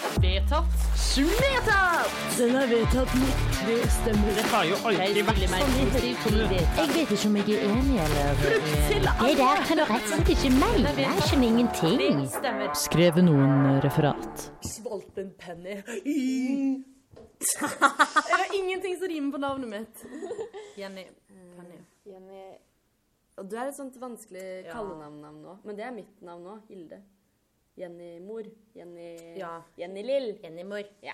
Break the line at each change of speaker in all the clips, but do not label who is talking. Vedtatt. Vedtatt.
Den er vedtatt med tre stemmer.
Det har jo alltid vært sånn i Høyre kommune.
Jeg vet ikke om jeg er enig eller
Til
Det der kan du rett og slett ikke mene. Det er ikke ingenting.
Stemmer.
Skrev
eh,
noen referat.
Svalt en penny.
Det er ingenting som rimer på navnet mitt. Jenny. Penny.
Jenny Og du er et sånt vanskelig
Ja.
kallenavn nå. Men det er mitt navn nå. Hilde. Jenny Mor. Jenny
Ja.
Jenny Lill.
Jennymor.
Ja.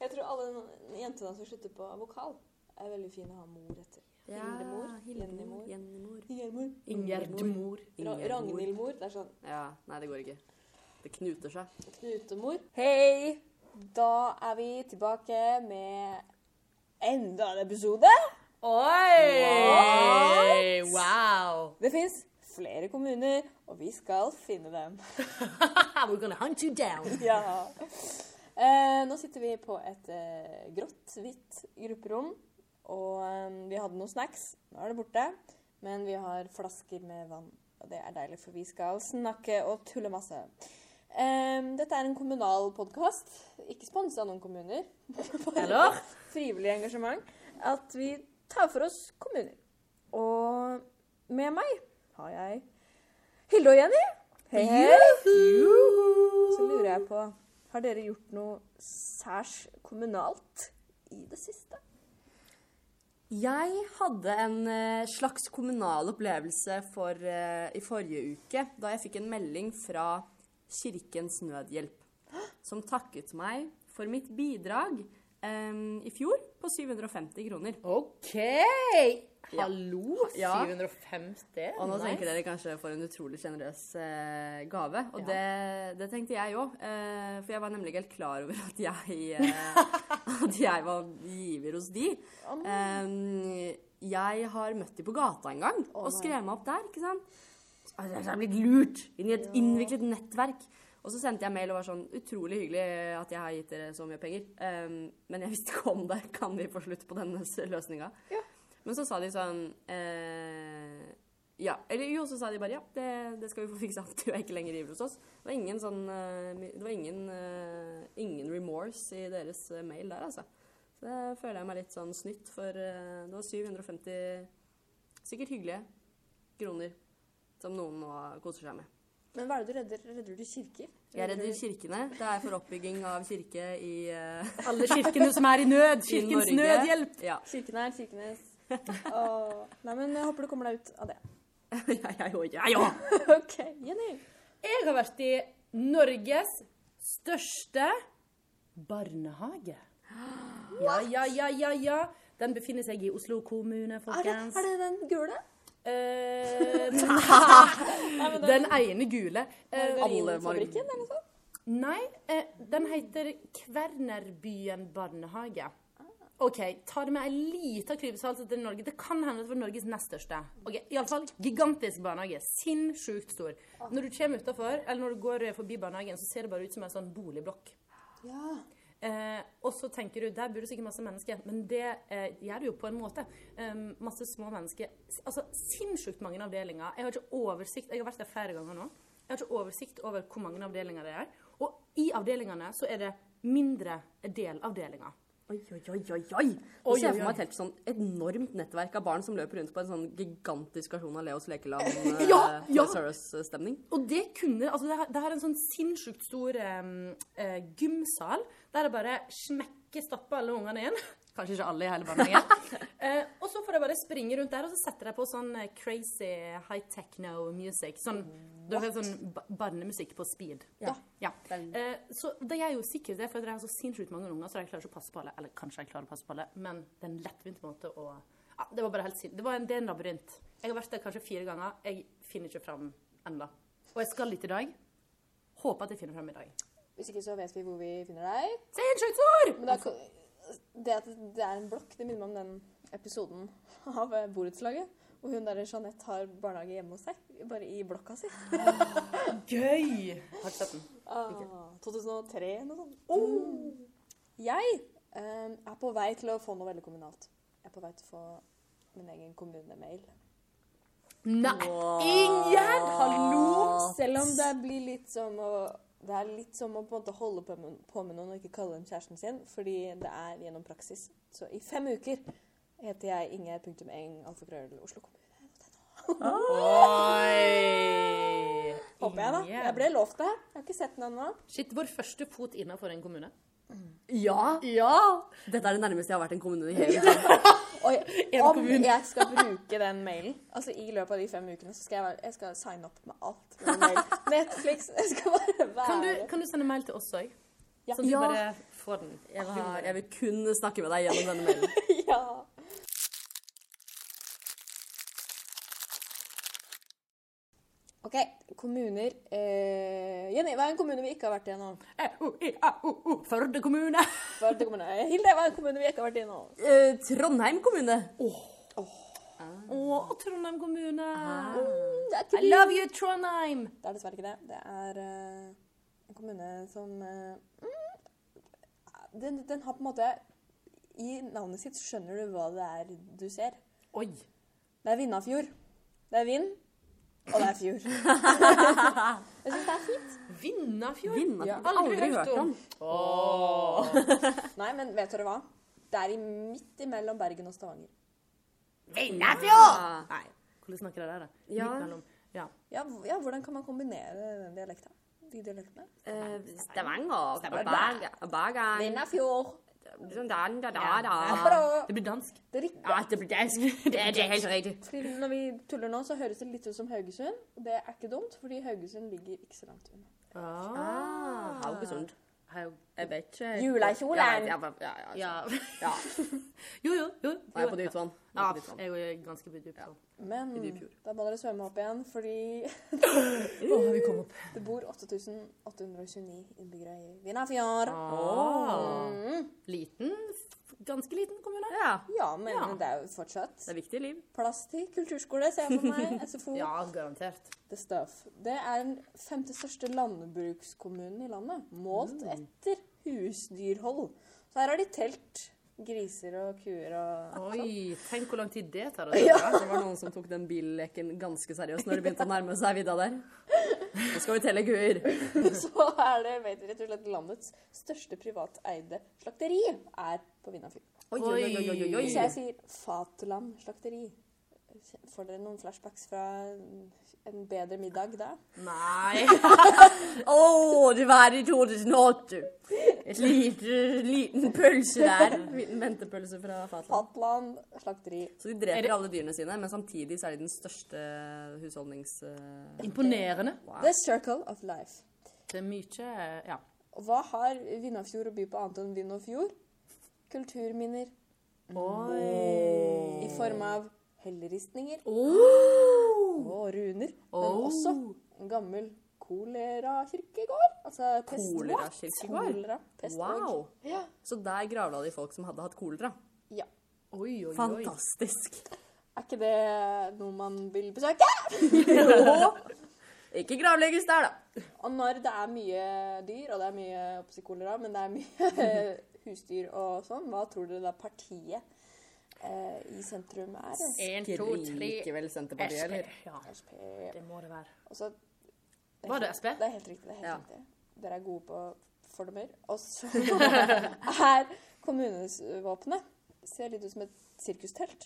Jeg tror alle no- jentene som slutter på vokal, er veldig fine å ha mor etter. Hildemor. Jennymor.
Jennymor.
Ingermor.
Ingjerdmor.
Ra- Ragnhildmor. Det er sånn
Ja. Nei, det går ikke. Det knuter seg.
Knutemor. Hei! Da er vi tilbake med enda en episode.
Oi! Wow.
Det fins flere kommuner, og vi skal finne dem.
We're gonna hunt you down.
Ja. Eh, nå sitter vi på et eh, grått, hvitt grupperom. Og eh, vi hadde noen snacks. Nå er det borte. Men vi har flasker med vann. Og det er deilig, for vi skal snakke og tulle masse. Eh, dette er en kommunal podkast. Ikke sponsa av noen kommuner. Bare
Eller?
Frivillig engasjement. At vi tar for oss kommuner. Og med meg har jeg Hilde og Jenny. Hei, hei. Så lurer jeg på Har dere gjort noe særs kommunalt i det siste?
Jeg hadde en eh, slags kommunal opplevelse for, eh, i forrige uke da jeg fikk en melding fra Kirkens Nødhjelp som takket meg for mitt bidrag em, i fjor på 750 kroner.
OK! Hallo,
Ja.
750.
Og nå
Nice.
tenker dere kanskje for en utrolig sjenerøs eh, gave. Og det, det tenkte jeg òg. Eh, for jeg var nemlig helt klar over at jeg, eh, at jeg var giver hos de. Eh, jeg har møtt de på gata en gang og skrev meg opp der. ikke sant? Altså, Jeg er blitt lurt inn i et innviklet nettverk. Og så sendte jeg mail og var sånn Utrolig hyggelig at jeg har gitt dere så mye penger. Ehm, men jeg visste ikke om det. Kan vi få slutt på denne løsninga? Men så sa de sånn eh, Ja. Eller jo, så sa de bare ja, det, det skal vi få fiksa. Du er ikke lenger ivrig hos oss. Det var ingen sånn eh, mi- Det var ingen, eh, ingen remorse i deres eh, mail der, altså. Så det føler jeg meg litt sånn snytt, for eh, det var 750 sikkert hyggelige kroner som noen nå koser seg med.
Men hva er det du redder? Redder du kirker?
Jeg redder kirkene. Det er for oppbygging av kirke i, eh,
Alle kirkene som er i nød.
i
Kirkens
Norge.
Nødhjelp.
Ja.
Kirken her, Kirkenes. Åh. Nei, men jeg håper du kommer deg ut av det.
ja, ja, ja, ja, ja.
OK, Jenny.
Jeg har vært i Norges største barnehage. Ja, ja, ja, ja, ja. Den befinner seg i Oslo kommune,
Er det,
folkens.
er det den gule?
Eh, den ene gule. Eh,
Margarinfabrikken, eller noe sånt?
nei, eh, den heter Kvernerbyen barnehage. OK, ta det med ei lita klype salt til Norge. Det kan hende at det var Norges nest største. Ok, Iallfall gigantisk barnehage. Sinnssykt stor. Når du kommer utafor, eller når du går eh, forbi barnehagen, så ser det bare ut som en sånn boligblokk.
Ja.
Eh, og så tenker du der bor det sikkert masse mennesker, men det eh, gjør det jo på en måte. Um, masse små mennesker. S- Altså sinnssykt mange avdelinger. Jeg har ikke oversikt, jeg har vært der flere ganger nå. Jeg har ikke oversikt over hvor mange avdelinger det er. Og i avdelingene så er det mindre delavdelinger.
Oi, oi, oi, oi, oi. Nå
Oi,
ser jeg
oi,
for meg
oi.
et helt sånn enormt nettverk av barn som løper rundt på en sånn gigantisk versjon av Leos lekeland. eh,
Ja, ja.
Thesaurus-stemning.
Og det kunne Altså, det har, det har en sånn sinnssykt stor em, eh, gymsal der det bare smekker stapper alle ungene inn. Kanskje ikke alle i hele barnehagen. eh, og så får de bare springe rundt der, og så setter de på sånn eh, crazy high techno music. Sånn, det er sånn ba- barnemusikk på speed. Ja. Eh, så det gjør jo sikkert det, for de har så sinnssykt mange unger, så de klarer ikke å passe på alle. Eller kanskje de klarer å passe på alle, men det er en lettvint måte å ja, Det var bare helt sin... Det var en, det er en labyrint. Jeg har vært der kanskje fire ganger. Jeg finner ikke fram ennå. Og jeg skal litt i dag. Håper at jeg finner fram i dag.
Hvis ikke så vet vi hvor vi finner deg.
Sinnssykt stor!
Men da, det at det er en blokk, det minner meg om den episoden av eh, borettslaget. Hvor hun der Jeanette har barnehage hjemme hos seg. Bare i blokka si.
Gøy! Har ikke sett den.
Ah, 2003 eller noe sånt. Oh! Jeg eh, er på vei til å få noe veldig kommunalt. Jeg er på vei til å få min egen kommunemail.
Nei!
Ingjerd, hallo! Selv om det blir litt som å Det er litt som å på en måte holde på med, på med noen og ikke kalle dem kjæresten sin, fordi det er gjennom praksis. Så i fem uker heter jeg Ingjerd.eng, alfakrøll, Oslo kommune.
Oi!
Håper jeg, da. Jeg ble lovt det. Jeg har ikke sett den ennå.
Shit, vår første fot innafor en kommune.
Ja! Dette er det nærmeste jeg har vært en kommune i hele mitt liv.
Oi,
En
om
kommune.
jeg skal bruke den mailen altså i løpet av de fem ukene, så skal jeg, være, jeg skal signe opp med alt. Med den mailen. Netflix Jeg skal bare være
Kan du, kan du sende mail til oss òg? Sånn at vi
Ja.
bare får den.
Jeg vil, ha- jeg vil kun snakke med deg gjennom denne mailen.
Ja. OK. Kommuner eh, Jenny, hva er en kommune vi ikke har vært i ennå?
E, E-O-I-A-O-O, Førde kommune!
Førde kommune. Eh, Hilde, hva er en kommune vi ikke har vært i ennå?
Eh, Trondheim kommune.
Å, Trondheim kommune!
Ah.
Mm, Det er
I
ikke
love you, Trondheim!
Det er dessverre ikke det. Det er eh, en kommune som eh, mm, den, den har på en måte I navnet sitt skjønner du hva det er du ser.
Oi.
Det er Vindafjord. Det er vind, og det er fjord. Jeg syns det er fint.
Vindafjord?
Vindafjord. Aldri hørt om.
Nei, men vet dere hva? Det er i midt imellom Bergen og Stavanger.
Vindafjord!
Ah.
Nei. Hvordan snakker dere der, da?
Ja.
Midt mellom. Ja.
Ja, hvor- ja, hvordan kan man kombinere den dialekten? De dialektene?
Eh, Stavanger. Berg- Bergen. Sånn
Vindafjord.
Da, da, da, da.
Bra.
Det blir dansk.
Det er riktig.
Ja, det blir dansk. Det er det er helt riktig.
Fordi når vi tuller nå, så høres det litt ut som Haugesund. Og det er ikke dumt, fordi Haugesund ligger ikke så langt unna.
Ah, Haugesund.
Hei, og-
Jeg vet ikke.
Julekjolen.
Ja, jeg vet- Ja, ja, ja.
Ja.
ja.
Jo, jo, jo.
Nå er jeg på dypt vann.
Ja,
Nå er jeg på dypt vann.
jeg er ganske på dypt vann.
Men
dyp fjord.
da må dere svømme opp igjen, fordi
Å, vi kom opp.
det bor 8829 innbyggere i Vindafjord.
Ah. Mm. Liten, f- ganske liten kommune.
Ah. Ja.
Ja, men
Ja.
det er jo fortsatt
Det er viktig liv.
plass til kulturskole, ser jeg for meg. SFO.
Ja, garantert.
The stuff. Det er den femte største landbrukskommunen i landet, målt
Mm.
etter husdyrhold. Så her har de telt griser og kuer og
Oi, tenk hvor lang tid det tar å
Det var noen som tok den billeken ganske seriøst når det begynte å nærme seg vidda der. Nå skal vi telle kuer.
Så er det vet dere, rett og slett landets største privateide slakteri er på Vindafjord.
Oi, oi, oi, oi, oi,
Hvis jeg
oi.
sier Fatland slakteri, får dere noen flashbacks fra en bedre middag da?
Nei.
Å, det var i 2008. Et lite, liten pølse der. En Liten ventepølse fra Fatland.
Fatland slakteri.
Så de dreper alle dyrene sine, men samtidig så er de den største husholdnings... eh,
Imponerende.
The circle of life.
Det er mye Ja.
Og Hva har Vindafjord å by på annet enn vind og fjord? Kulturminner
Oi.
i form av helleristninger og runer, men
Oh.
også en gammel kolerakirkegård. Altså pest
Kolerakirkegård?
Kolera, pest
Wow.
Ja.
Så der gravla de folk som hadde hatt kolera.
ja.
Oi, oi, oi.
Fantastisk.
Er ikke det noe man vil besøke?
Ikke gravlegges der, da.
Og når det er mye dyr, og det er mye jeg holdt på å si kolera, men det er mye husdyr og sånn, hva tror dere da partiet eh, i sentrum er?
En, to, tre
Skriker vel Senterpartiet,
SP.
eller?
Ja,
SP.
det må det være.
Og så
Var det SP?
altså, Det er helt riktig. det er helt
Ja.
riktig. Dere er gode på fordommer. Og så er kommunevåpenet Ser litt ut som et sirkustelt.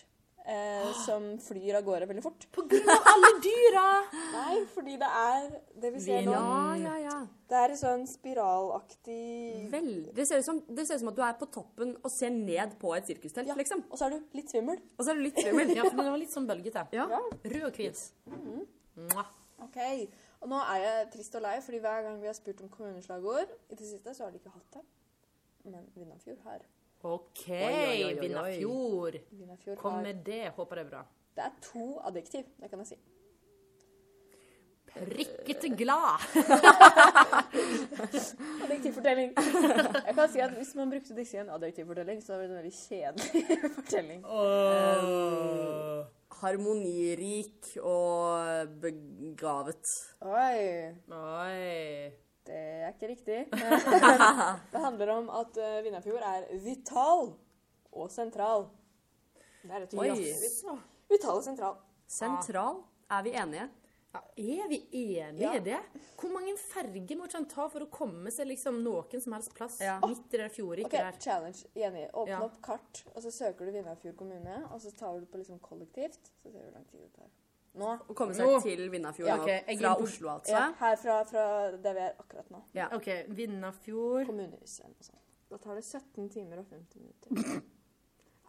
Eh, som flyr av gårde veldig fort.
På grunn av alle dyra!
Nei, fordi det er det vi ser nå.
Ja, ja, ja.
Det er en sånn spiralaktig
Vel, det ser, ut som, det ser ut som at du er på toppen og ser ned på et sirkustelt,
ja.
liksom.
Og så er du litt svimmel.
Og så er det litt svimmel.
Ja, for den var litt sånn bølgete.
Ja. Mm-hmm.
Rød og hvit. Mwah.
Ok, Og nå er jeg trist og lei, fordi hver gang vi har spurt om kommuneslagord i det siste, så har de ikke hatt det. Men Vindafjord har.
OK,
oi, oi, oi.
Vindafjord.
Vindafjord
Kom
har.
med det. Håper det er bra.
Det er to adjektiv, det kan jeg si.
Prikkete glad.
Adjektivfortelling. Jeg kan si at Hvis man brukte disse i en adjektivfortelling, så ville det vært en veldig kjedelig fortelling.
Harmonirik og begravet.
Oi,
Oi.
det er ikke riktig. Det handler om at eh, Vindafjord er vital og sentral. Det er rett og slett
Oi.
Vital og sentral.
Sentral. Er vi enige?
Er vi enige
Ja.
i det? Hvor mange ferger må ikke han ta for å komme seg liksom noen som helst plass
Ja.
midt i det fjordriket
Ok,
der?
challenge. Enig. Åpne
Ja.
opp kart, og så søker du Vindafjord kommune, og så tar du på liksom kollektivt. Så ser du hvor lang tid det tar. Nå.
Å komme seg
Nå.
til Vindafjord
Ja,
nå,
ok, jeg er
fra
inn på-
Oslo, altså.
Ja, herfra fra der vi er akkurat nå.
Ja.
OK, Vindafjord
Kommunehuset eller noe sånt. Da tar det 17 timer og 50 minutter.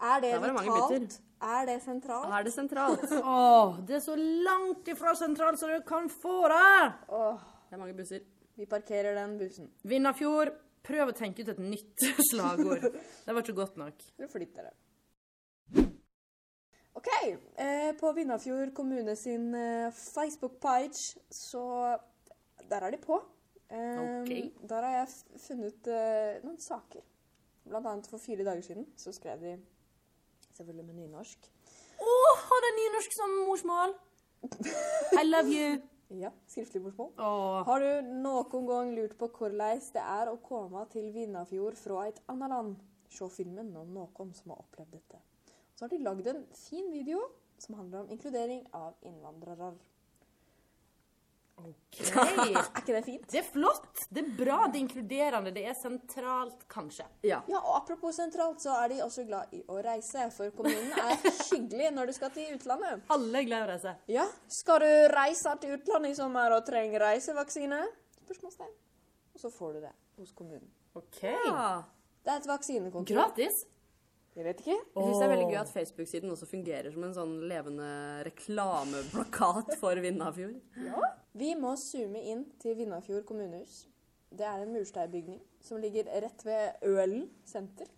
Er det
Der var det mange
vitalt?
bytter.
Er det sentralt?
Da er det sentralt. Det
Åh, det er så langt ifra sentralt som du kan få det!
Åh,
er mange busser.
vi parkerer den bussen.
Vindafjord, prøv å tenke ut et nytt slagord. Det var ikke godt nok.
Eller flytt dere. OK. Eh, på Vindafjord kommune sin eh, Facebook-page, så Der er de på. Eh,
Ok.
Der har jeg f- funnet eh, noen saker. Blant annet for fire dager siden så skrev de Selvfølgelig med nynorsk.
Å, har det nynorsk som morsmål? I love you.
Ja, skriftlig morsmål.
Åh.
Har du noen gang lurt på hvordan det er å komme til Vindafjord fra et annet land? Se filmen om noen som har opplevd dette. Så har de lagd en fin video som handler om inkludering av innvandrere.
Hei.
Er ikke det fint?
Det er flott! Det er bra, det er inkluderende, det er sentralt, kanskje.
Ja.
Ja, og Apropos sentralt, så er de også glad i å reise, for kommunen er hyggelig når du skal til utlandet.
Alle er glad i å reise.
Ja, Skal du reise til utlandet i sommer og trenger reisevaksine? Spørsmålstegn. Og så får du det hos kommunen.
OK.
Ja.
Det er et vaksinekontor.
Gratis.
Jeg vet ikke.
Jeg syns det er veldig gøy at Facebook-siden også fungerer som en sånn levende reklameplakat for Vindafjord.
Vi må zoome inn til Vindafjord kommunehus. Det er en mursteinbygning som ligger rett ved Ølen senter.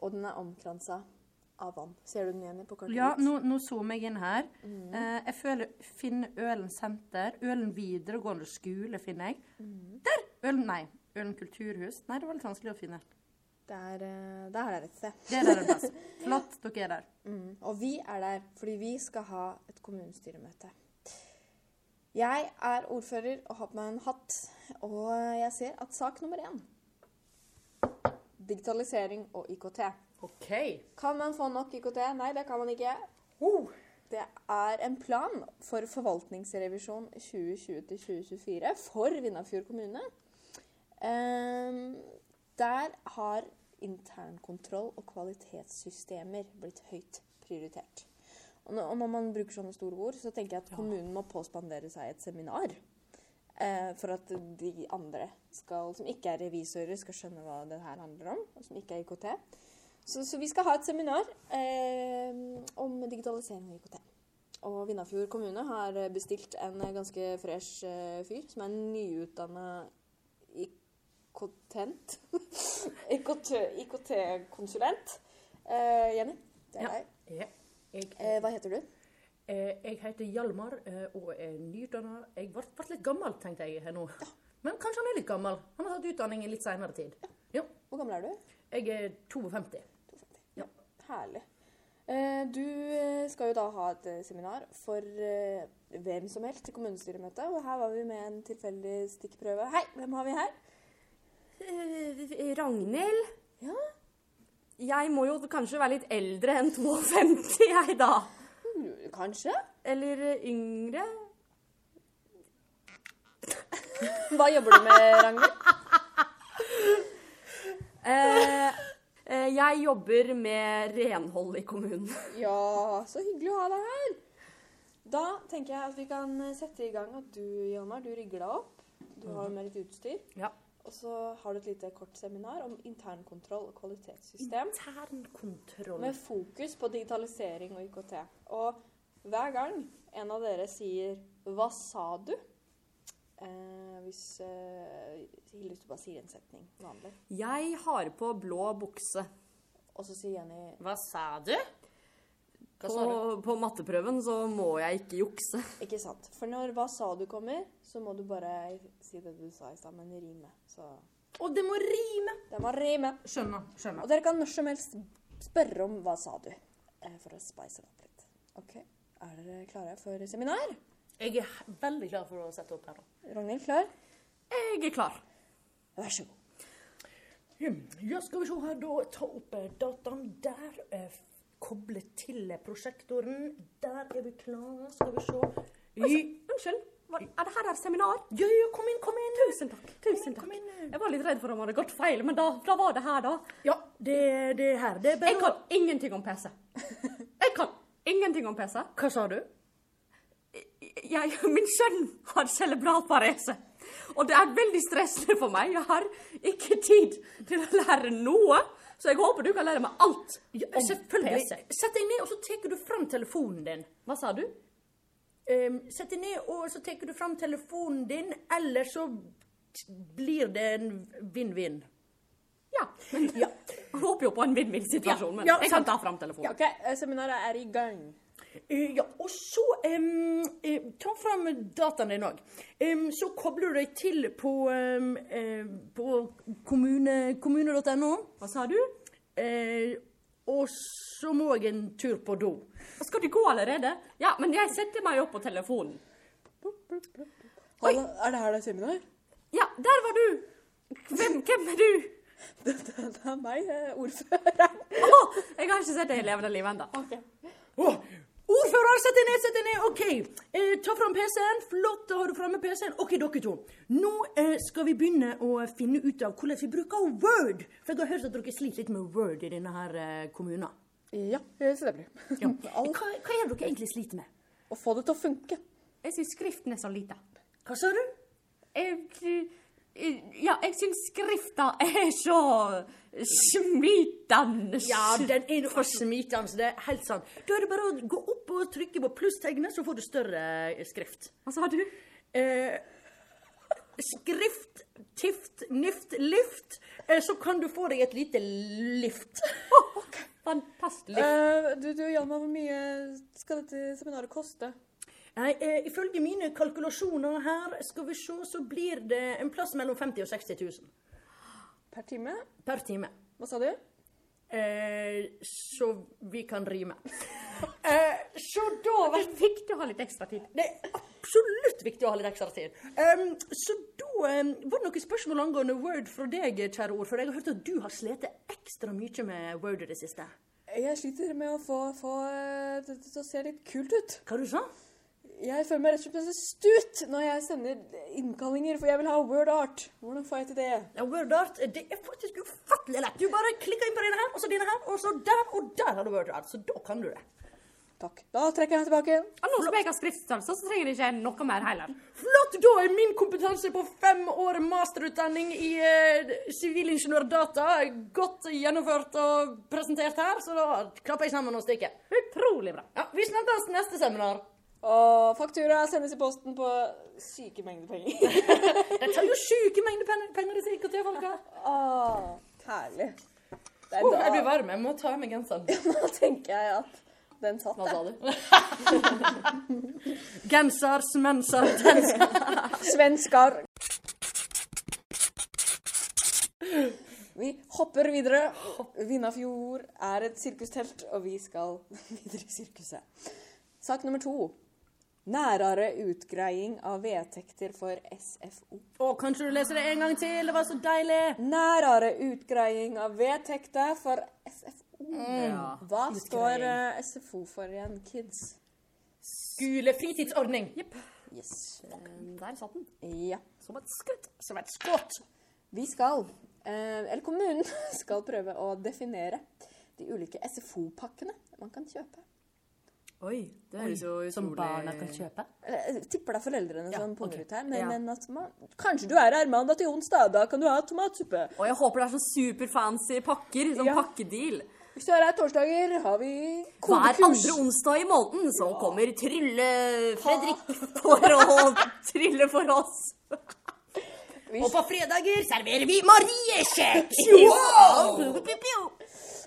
Og den er omkransa av vann. Ser du den igjen på kartet?
Ja,
ditt?
nå, nå zoomer jeg inn her. Eh, jeg føler finner Ølen senter. Ølen videregående skole finner jeg. Der! Ølen, nei. Ølen kulturhus. Nei, det var litt vanskelig å finne.
Det er, eh, det er der et sted. Mm.
Det er der en plass. Flott, dere er der.
Og vi er der fordi vi skal ha et kommunestyremøte. Jeg er ordfører og har på meg en hatt, og jeg ser at sak nummer én Digitalisering og IKT.
OK.
Kan man få nok IKT? Nei, det kan man ikke. Det er en plan for forvaltningsrevisjon 2020-2024 for Vindafjord kommune. Ehm, der har internkontroll og kvalitetssystemer blitt høyt prioritert. Og nå- og når man bruker sånne store ord, så tenker jeg at kommunen må påspandere seg et seminar. Eh, for at de andre skal, som ikke er revisorer, skal skjønne hva det her handler om. Og som ikke er IKT. Så, så vi skal ha et seminar eh, om digitalisering og IKT. Og Vindafjord kommune har bestilt en ganske fresh eh, fyr som er nyutdanna IKT-ent. IKT-konsulent. Eh, Jenny, det er
Ja.
deg.
Jeg,
Eh, hva heter du?
Eh, heter Hjalmar eh, og er nyutdanna. Jeg ble litt gammel, tenkte jeg her nå. Men kanskje han er litt gammel. Han har tatt utdanning i litt seinere tid. Jo.
Hvor gammel er du?
Jeg er 52.
Herlig. Eh, Du eh, skal jo da ha et eh, seminar for eh, hvem som helst til kommunestyremøtet. Og her var vi med en tilfeldig stikkprøve. Hei, hvem har vi her?
Eh, Ragnhild? Jeg må jo kanskje være litt eldre enn 52, jeg da.
Mm, Kanskje?
Eller eh, yngre.
Hva jobber du med, Ragnhild?
Eh, eh, jeg jobber med renhold i kommunen.
Ja, så hyggelig å ha deg her. Da tenker jeg at vi kan eh, sette i gang at du, Hjalmar, du rigger deg opp. Du har jo med litt utstyr.
Ja.
Og så har du et lite kort seminar om internkontroll og kvalitetssystem.
Internkontroll.
med fokus på digitalisering og IKT. Og hver gang en av dere sier 'hva sa du?' Eh, hvis eh, Hilde hvis du bare sier en setning vanlig,
Jeg har på blå bukse.
og så sier Jenny
Hva sa du? Hva sa du?
På, på matteprøven så må jeg ikke jukse.
'ikke sant'. For når 'hva sa du?' kommer, så må du bare si det du sa i stad, men rime. Så
Og det må rime!
det må rime.
Skjønner.
Og
skjønner.
dere kan når som helst spørre om 'hva sa du?' eh, for å spice det opp litt. OK. Er dere klare for seminar?
Jeg er veldig klar for å sette opp her nå.
Ragnhild, klar?
Jeg er klar.
Vær så god.
Mm,
Ja, skal vi se her, da. Ta opp eh, dataen der. eh, f- Koble til eh, prosjektoren. Der er vi klare. Skal vi se. I
Altså, Unnskyld, hva- er det her er seminar?
Ja, ja, kom inn, kom inn!
Tusen takk. tusen takk.
Kom inn, kom inn.
Jeg var litt redd for om det hadde gått feil, men da, da var det her, da.
Ja, det, det er her. Det er
Jeg
bare
kan ingenting om PC. Jeg kan ingenting om PC.
Hva sa du?
Jeg, min sønn har cerebral parese. Og det er veldig stressende for meg. Jeg har ikke tid til å lære noe. Så jeg håper du kan lære meg alt
Ja,
om
selvfølgelig.
PC.
Sett deg ned, og så tar du fram telefonen din.
Hva sa du?
Ehm, sett deg ned, og så tar du fram telefonen din, eller så t- blir det en vinn-vinn.
Ja. Men, Jeg håper jo på en vinn-vinn-situasjon, men
Ja, ja,
jeg
sant.
kan ta fram telefonen.
OK, eh, seminaret er i gang.
Eh, ja, og så ehm, eh, Ta fram dataen din òg. Ehm, så kobler du deg til på, ehm, ehm, på kommune- kommune.no.
Hva sa du?
Eh, og så må jeg en tur på do.
Skal du gå allerede? Ja, men jeg setter meg opp på telefonen.
Halla, er det her det er seminar?
Ja, der var du! Hvem, hvem er du?
Det, det, det er meg, eh, ordføreren.
Å, jeg har ikke sett deg i levende liv ennå.
Åh, ordfører, sett deg ned, sett deg ned! OK, eh, ta fram PC-en. Flott, da har du framme PC-en. OK, dere to. Nå eh, skal vi begynne å finne ut av hvordan vi bruker Word. For jeg har hørt at dere sliter litt med Word i denne her eh, kommunen.
Ja, eh, det stemmer.
Ja. Hva, hva er det dere egentlig sliter med?
Å få det til å funke.
Jeg syns skriften er så lita.
Hva sa du?
Jeg, eh, ja, jeg syns skrifta er så smitende.
Ja, den er noe smitende. Det er helt sant. Da er det bare å gå opp og trykke på plusstegnet, så får du større eh, skrift.
Hva sa du?
eh, skrift, tift, nift, lift, eh, så kan du få deg et lite lift.
Fantastisk.
Eh, du, du Hjalmar, hvor mye skal dette seminaret koste?
Nei, eh, ifølge mine kalkulasjoner her, skal vi se, så blir det en plass mellom 50 og 60 000
Per time?
per time.
Hva sa du?
Eh, så vi kan rime. Eh, så da
Det er viktig å ha litt ekstra tid.
Det er absolutt viktig å ha litt ekstra tid. Ehm, så da ehm, var det noen spørsmål angående Word fra deg, kjære ordfører. Jeg har hørt at du har slitt ekstra mye med Word i det siste.
Jeg sliter med å få, få eh, det til å se litt kult ut.
Hva du sa du?
Jeg føler meg rett og slett som en stut når jeg sender innkallinger, for jeg vil ha word art. Hvordan får jeg til det?
Ja, WordArt, det er faktisk ufattelig lett. Du bare klikker inn på denne her, og så denne her, og så der, og der har du WordArt. Så da kan du det.
Takk. Da trekker jeg meg tilbake.
Og nå som jeg har skriftstørrelse, så trenger jeg ikke noe mer heller.
Flott! Da er min kompetanse på fem år masterutdanning i eh, sivilingeniørdata godt gjennomført og presentert her, så da klapper jeg sammen og stikker.
Utrolig bra.
Ja, vi snakkes neste seminar.
Og faktura sendes i posten på syke mengder penger.
Det tar jo sjuke mengder pen- penger disse IKT-folka.
Åh, herlig. Det
Åh, jeg
er
blir
da,
varm. Jeg må ta av meg genseren.
da tenker jeg at den satt, jeg.
Genser, smenser, tenser.
Svenskar. Vi hopper videre. Vinnafjord er et sirkustelt, og vi skal videre i sirkuset. Sak nummer to. Nærere utgreiing av vedtekter for SFO.
Å, kanskje du leser det en gang til? Det var så deilig.
Nærere utgreiing av vedtekter for SFO.
Mm. Ja.
Hva står eh, SFO for igjen, kids?
Skolefritidsordning.
Yes.
Eh, Der satt den.
Ja.
Som et skudd.
Som et skott.
Vi skal, eh, eller kommunen skal prøve å definere de ulike SFO-pakkene man kan kjøpe.
Oi, det høres jo utrolig
kjøpe.
Eller, Jeg tipper det er foreldrene som punger ut her, men,
Ja.
men at man Kanskje du er her mandag til onsdag, da kan du ha tomatsuppe.
Og jeg håper det er sånn superfancy pakker. Sånn
Ja.
pakkedeal.
Hvis du er her torsdager, har vi
Hver
kodekurs.
andre onsdag i måneden så kommer Trylle-Fredrik for å trylle for oss.
Og på fredager serverer vi mariekjeks!
Piu, piu, piu.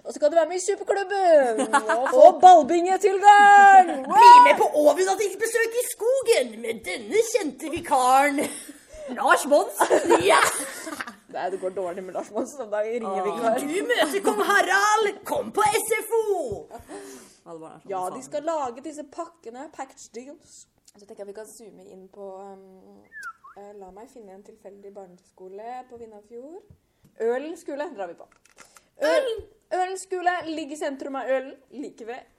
Og så kan du være med i superklubben og få ballbingetilgang!
Bli med på overnattingsbesøk i skogen med denne kjente vikaren.
Lars Monsen!
Ja!
Nei, det går dårlig med Lars Monsen om dagen. Ringer vi ikke her.
Du møter kong Harald. Kom på SFO.
sånn.
Ja, de skal lage disse pakkene, package deals. Så tenker jeg vi kan zoome inn på um, eh, La meg finne en tilfeldig barneskole på Vindafjord. Ølen skole drar vi på. Ølen, Ølen E skole ligger i sentrum av Ølen, like ved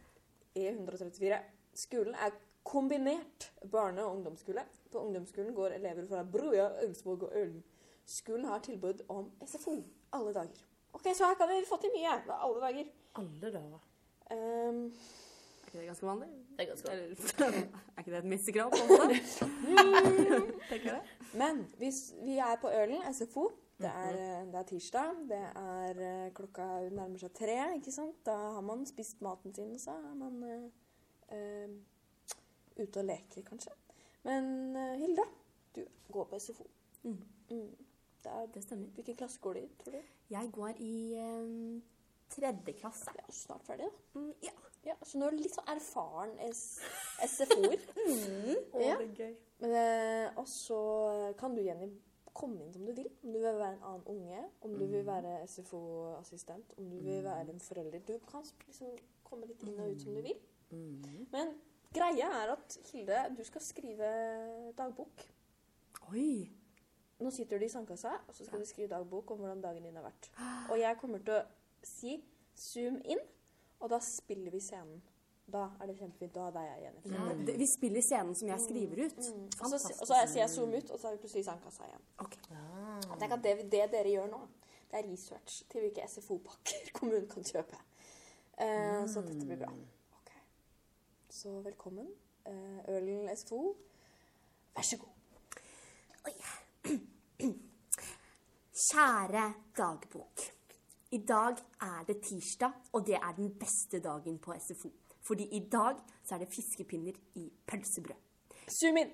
E134. Skolen er kombinert barne- og ungdomsskole. På ungdomsskolen går elever fra Broja, Augsvåg og Ølen. Skolen har tilbud om SFO alle dager. Ok, så her kan vi få til mye. Det er alle dager.
Alle dager.
Ehm,
Er ikke det ganske vanlig?
Det er ganske bra.
Eller, er ikke det et minstekrav? på en måte? Tenker jeg det. Mm-hmm.
men hvis vi er på Ølen SFO. Det er, eh, det er tirsdag. Det er eh, Klokka nærmer seg tre. ikke sant? Da har man spist maten sin, og så er man eh, eh, ute og leker, kanskje. Men eh, Hilde, du går på SFO.
Mm.
Mm. Det er,
Det stemmer.
hvilken klasse går du i, tror du?
Jeg går i eh, tredje klasse.
Det er jo snart ferdig, da.
Mm, ja.
Ja, så nå er du litt sånn erfaren S- SFO-er.
det
ja.
er gøy.
Men, eh, og så kan du Jenny komme inn som du vil. Om du vil være en annen unge, om du
Mm.
vil være SFO-assistent, om du vil være en forelder. Du kan liksom komme litt inn og ut som du vil.
Mm.
Men greia er at Hilde, du skal skrive dagbok.
Oi!
Nå sitter du i sandkassa, og så skal du skrive dagbok om hvordan dagen din har vært. Og jeg kommer til å si 'zoom inn', og da spiller vi scenen. Da er det kjempefint. Da er det jeg igjen. for eksempel.
Det, vi spiller scenen som jeg skriver ut.
Mm, Og så, og så sier jeg 'zoom ut', og så er vi plutselig i sandkassa igjen.
Ok.
Tenk at det, det dere gjør nå, det er research til hvilke SFO-pakker kommunen kan kjøpe. Eh, Så dette blir bra. Ok. Så velkommen. Eh, Ølen SFO, vær så god.
Kjære dagbok. I dag er det tirsdag, og det er den beste dagen på SFO. Fordi i dag så er det fiskepinner i pølsebrød.
Zoom inn!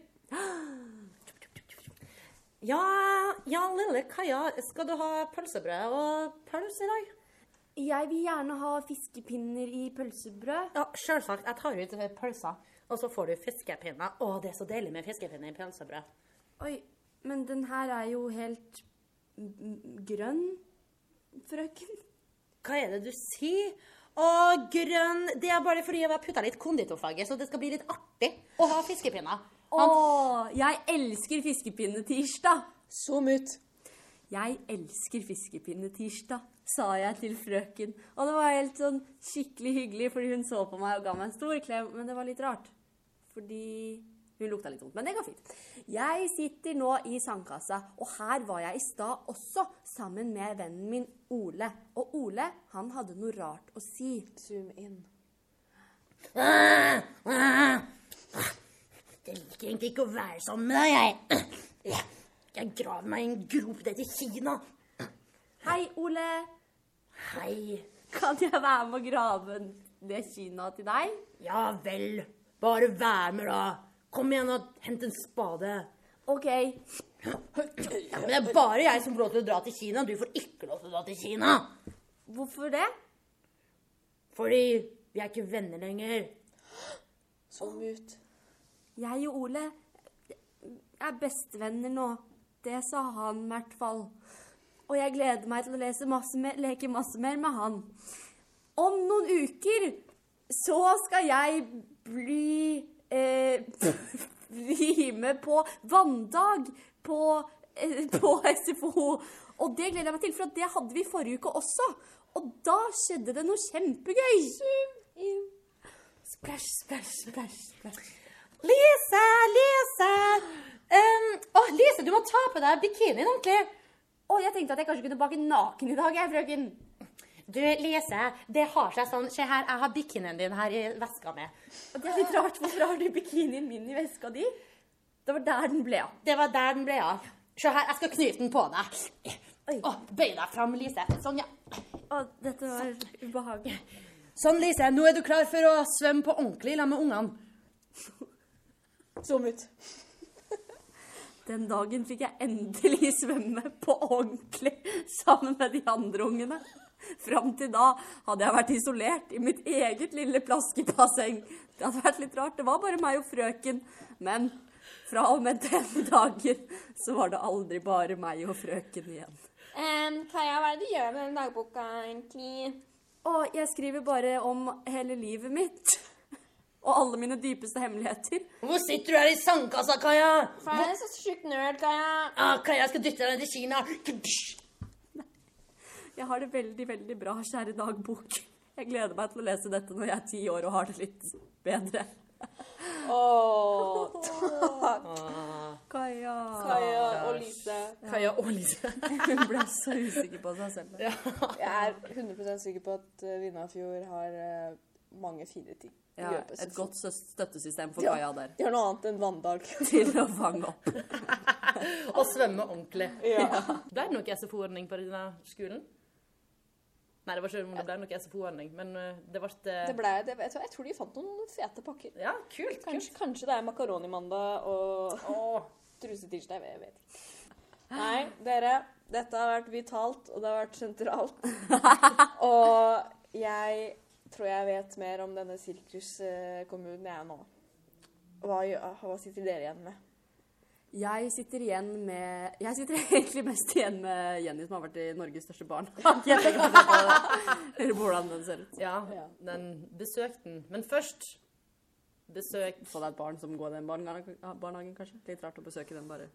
Ja, ja, lille Kaja, skal du ha pølsebrød og pølse i dag?
Jeg vil gjerne ha fiskepinner i pølsebrød.
Ja, selvsagt. Jeg tar ut pølser, og så får du fiskepinner. Å, det er så deilig med fiskepinner i pølsebrød.
Oi, men den her er jo helt m- m- grønn, frøken.
Hva er det du sier? Å, grønn Det er bare fordi jeg har putta litt konditorfarge, så det skal bli litt artig å ha fiskepinner.
Å, jeg elsker fiskepinne-tirsdag!
Zoom ut!
Jeg elsker fiskepinne-tirsdag, sa jeg til frøken. Og det var helt sånn skikkelig hyggelig, fordi hun så på meg og ga meg en stor klem. Men det var litt rart, fordi hun lukta litt vondt. Men det går fint. Jeg sitter nå i sandkassa, og her var jeg i stad også, sammen med vennen min Ole. Og Ole, han hadde noe rart å si.
Zoom inn.
Jeg liker egentlig ikke å være sammen med deg, jeg. Jeg graver meg i en grop ned til Kina.
Hei, Ole.
Hei.
Kan jeg være med å grave det kinaet til deg?
Ja vel. Bare vær med, da. Kom igjen og hent en spade.
OK.
Men det er bare jeg som får lov til å dra til Kina. Du får ikke lov til å dra til Kina.
Hvorfor det?
Fordi vi er ikke venner lenger.
Zoom ut.
Jeg og Ole eh, er bestevenner nå. Det sa han i hvert fall. Og jeg gleder meg til å lese masse mer, leke masse mer med han. Om noen uker så skal jeg bli eh, Bli med på vanndag på, eh, på SFO. Og det gleder jeg meg til, for at det hadde vi forrige uke også. Og da skjedde det noe kjempegøy.
Splæsj, splæsj, splæsj. splæsj. Lise! Lise! Um, å, Lise, du må ta på deg bikinien ordentlig.
Og jeg tenkte at jeg kanskje kunne bake naken i dag, jeg, frøken.
Du, Lise, det har seg sånn. Se her, jeg har bikinien din her i veska mi.
Og Det er litt rart. Hvorfor har du bikinien min i veska di? Det var der den ble av.
Det var der den ble av. Se her, jeg skal knyte den på deg.
Oi.
Å, bøy deg fram, Lise. Sånn, ja.
Å, dette var ubehagelig.
Sånn, Lise. Nå er du klar for å svømme på ordentlig sammen med ungene.
Zoom ut.
Den dagen fikk jeg endelig svømme på ordentlig sammen med de andre ungene. Fram til da hadde jeg vært isolert i mitt eget lille plaskebasseng. Det hadde vært litt rart. Det var bare meg og frøken. Men fra og med den dagen så var det aldri bare meg og frøken igjen.
Kaja, hva er det du gjør med den dagboka egentlig?
Og jeg skriver bare om hele livet mitt. Og alle mine dypeste hemmeligheter.
Hvor sitter du her i sandkassa, Kaja?
For jeg er så sjukt nerd, Kaja.
Ah, Kaja jeg skal dytte deg ned til Kina.
Jeg har det veldig, veldig bra, kjære dagbok. Jeg gleder meg til å lese dette når jeg er ti år og har det litt bedre.
Åh,
Kaja.
Kaja og Lise.
Kaja og Lise.
Hun ble så usikker på seg selv.
Jeg er 100 sikker på at eh, Vindafjord har eh, mange fine ting. å
Ja,
gjøre på
et
SFO.
godt søs- støttesystem for
Ja.
Kaja der.
De har noe annet enn vanndag.
Til å fange opp.
Og svømme ordentlig.
ja.
Ble det noe SFO-ordning på denne skolen? Nei, det var ikke om det ble noe SFO-ordning, men eh, det ble
Det ble, det, jeg, tror, jeg tror de fant noen fete pakker.
Ja, kult. kult.
Kanskje, kanskje det er makaronimandag og
Åh.
trusetirsdag. Jeg vet ikke. Nei, dere. Dette har vært vitalt, og det har vært sentralt. og jeg tror jeg vet mer om denne sirkuskommunen jeg er nå. Hva, gjør- hva sitter dere igjen med?
Jeg sitter igjen med Jeg sitter egentlig mest igjen med Jenny, som har vært i Norges største barnehage. Jeg tenker på det, eller på hvordan den ser ut.
Ja, den besøk den. Men først besøk
Få deg et barn som går i den barnehagen, barnehagen, kanskje. Litt rart å besøke den bare.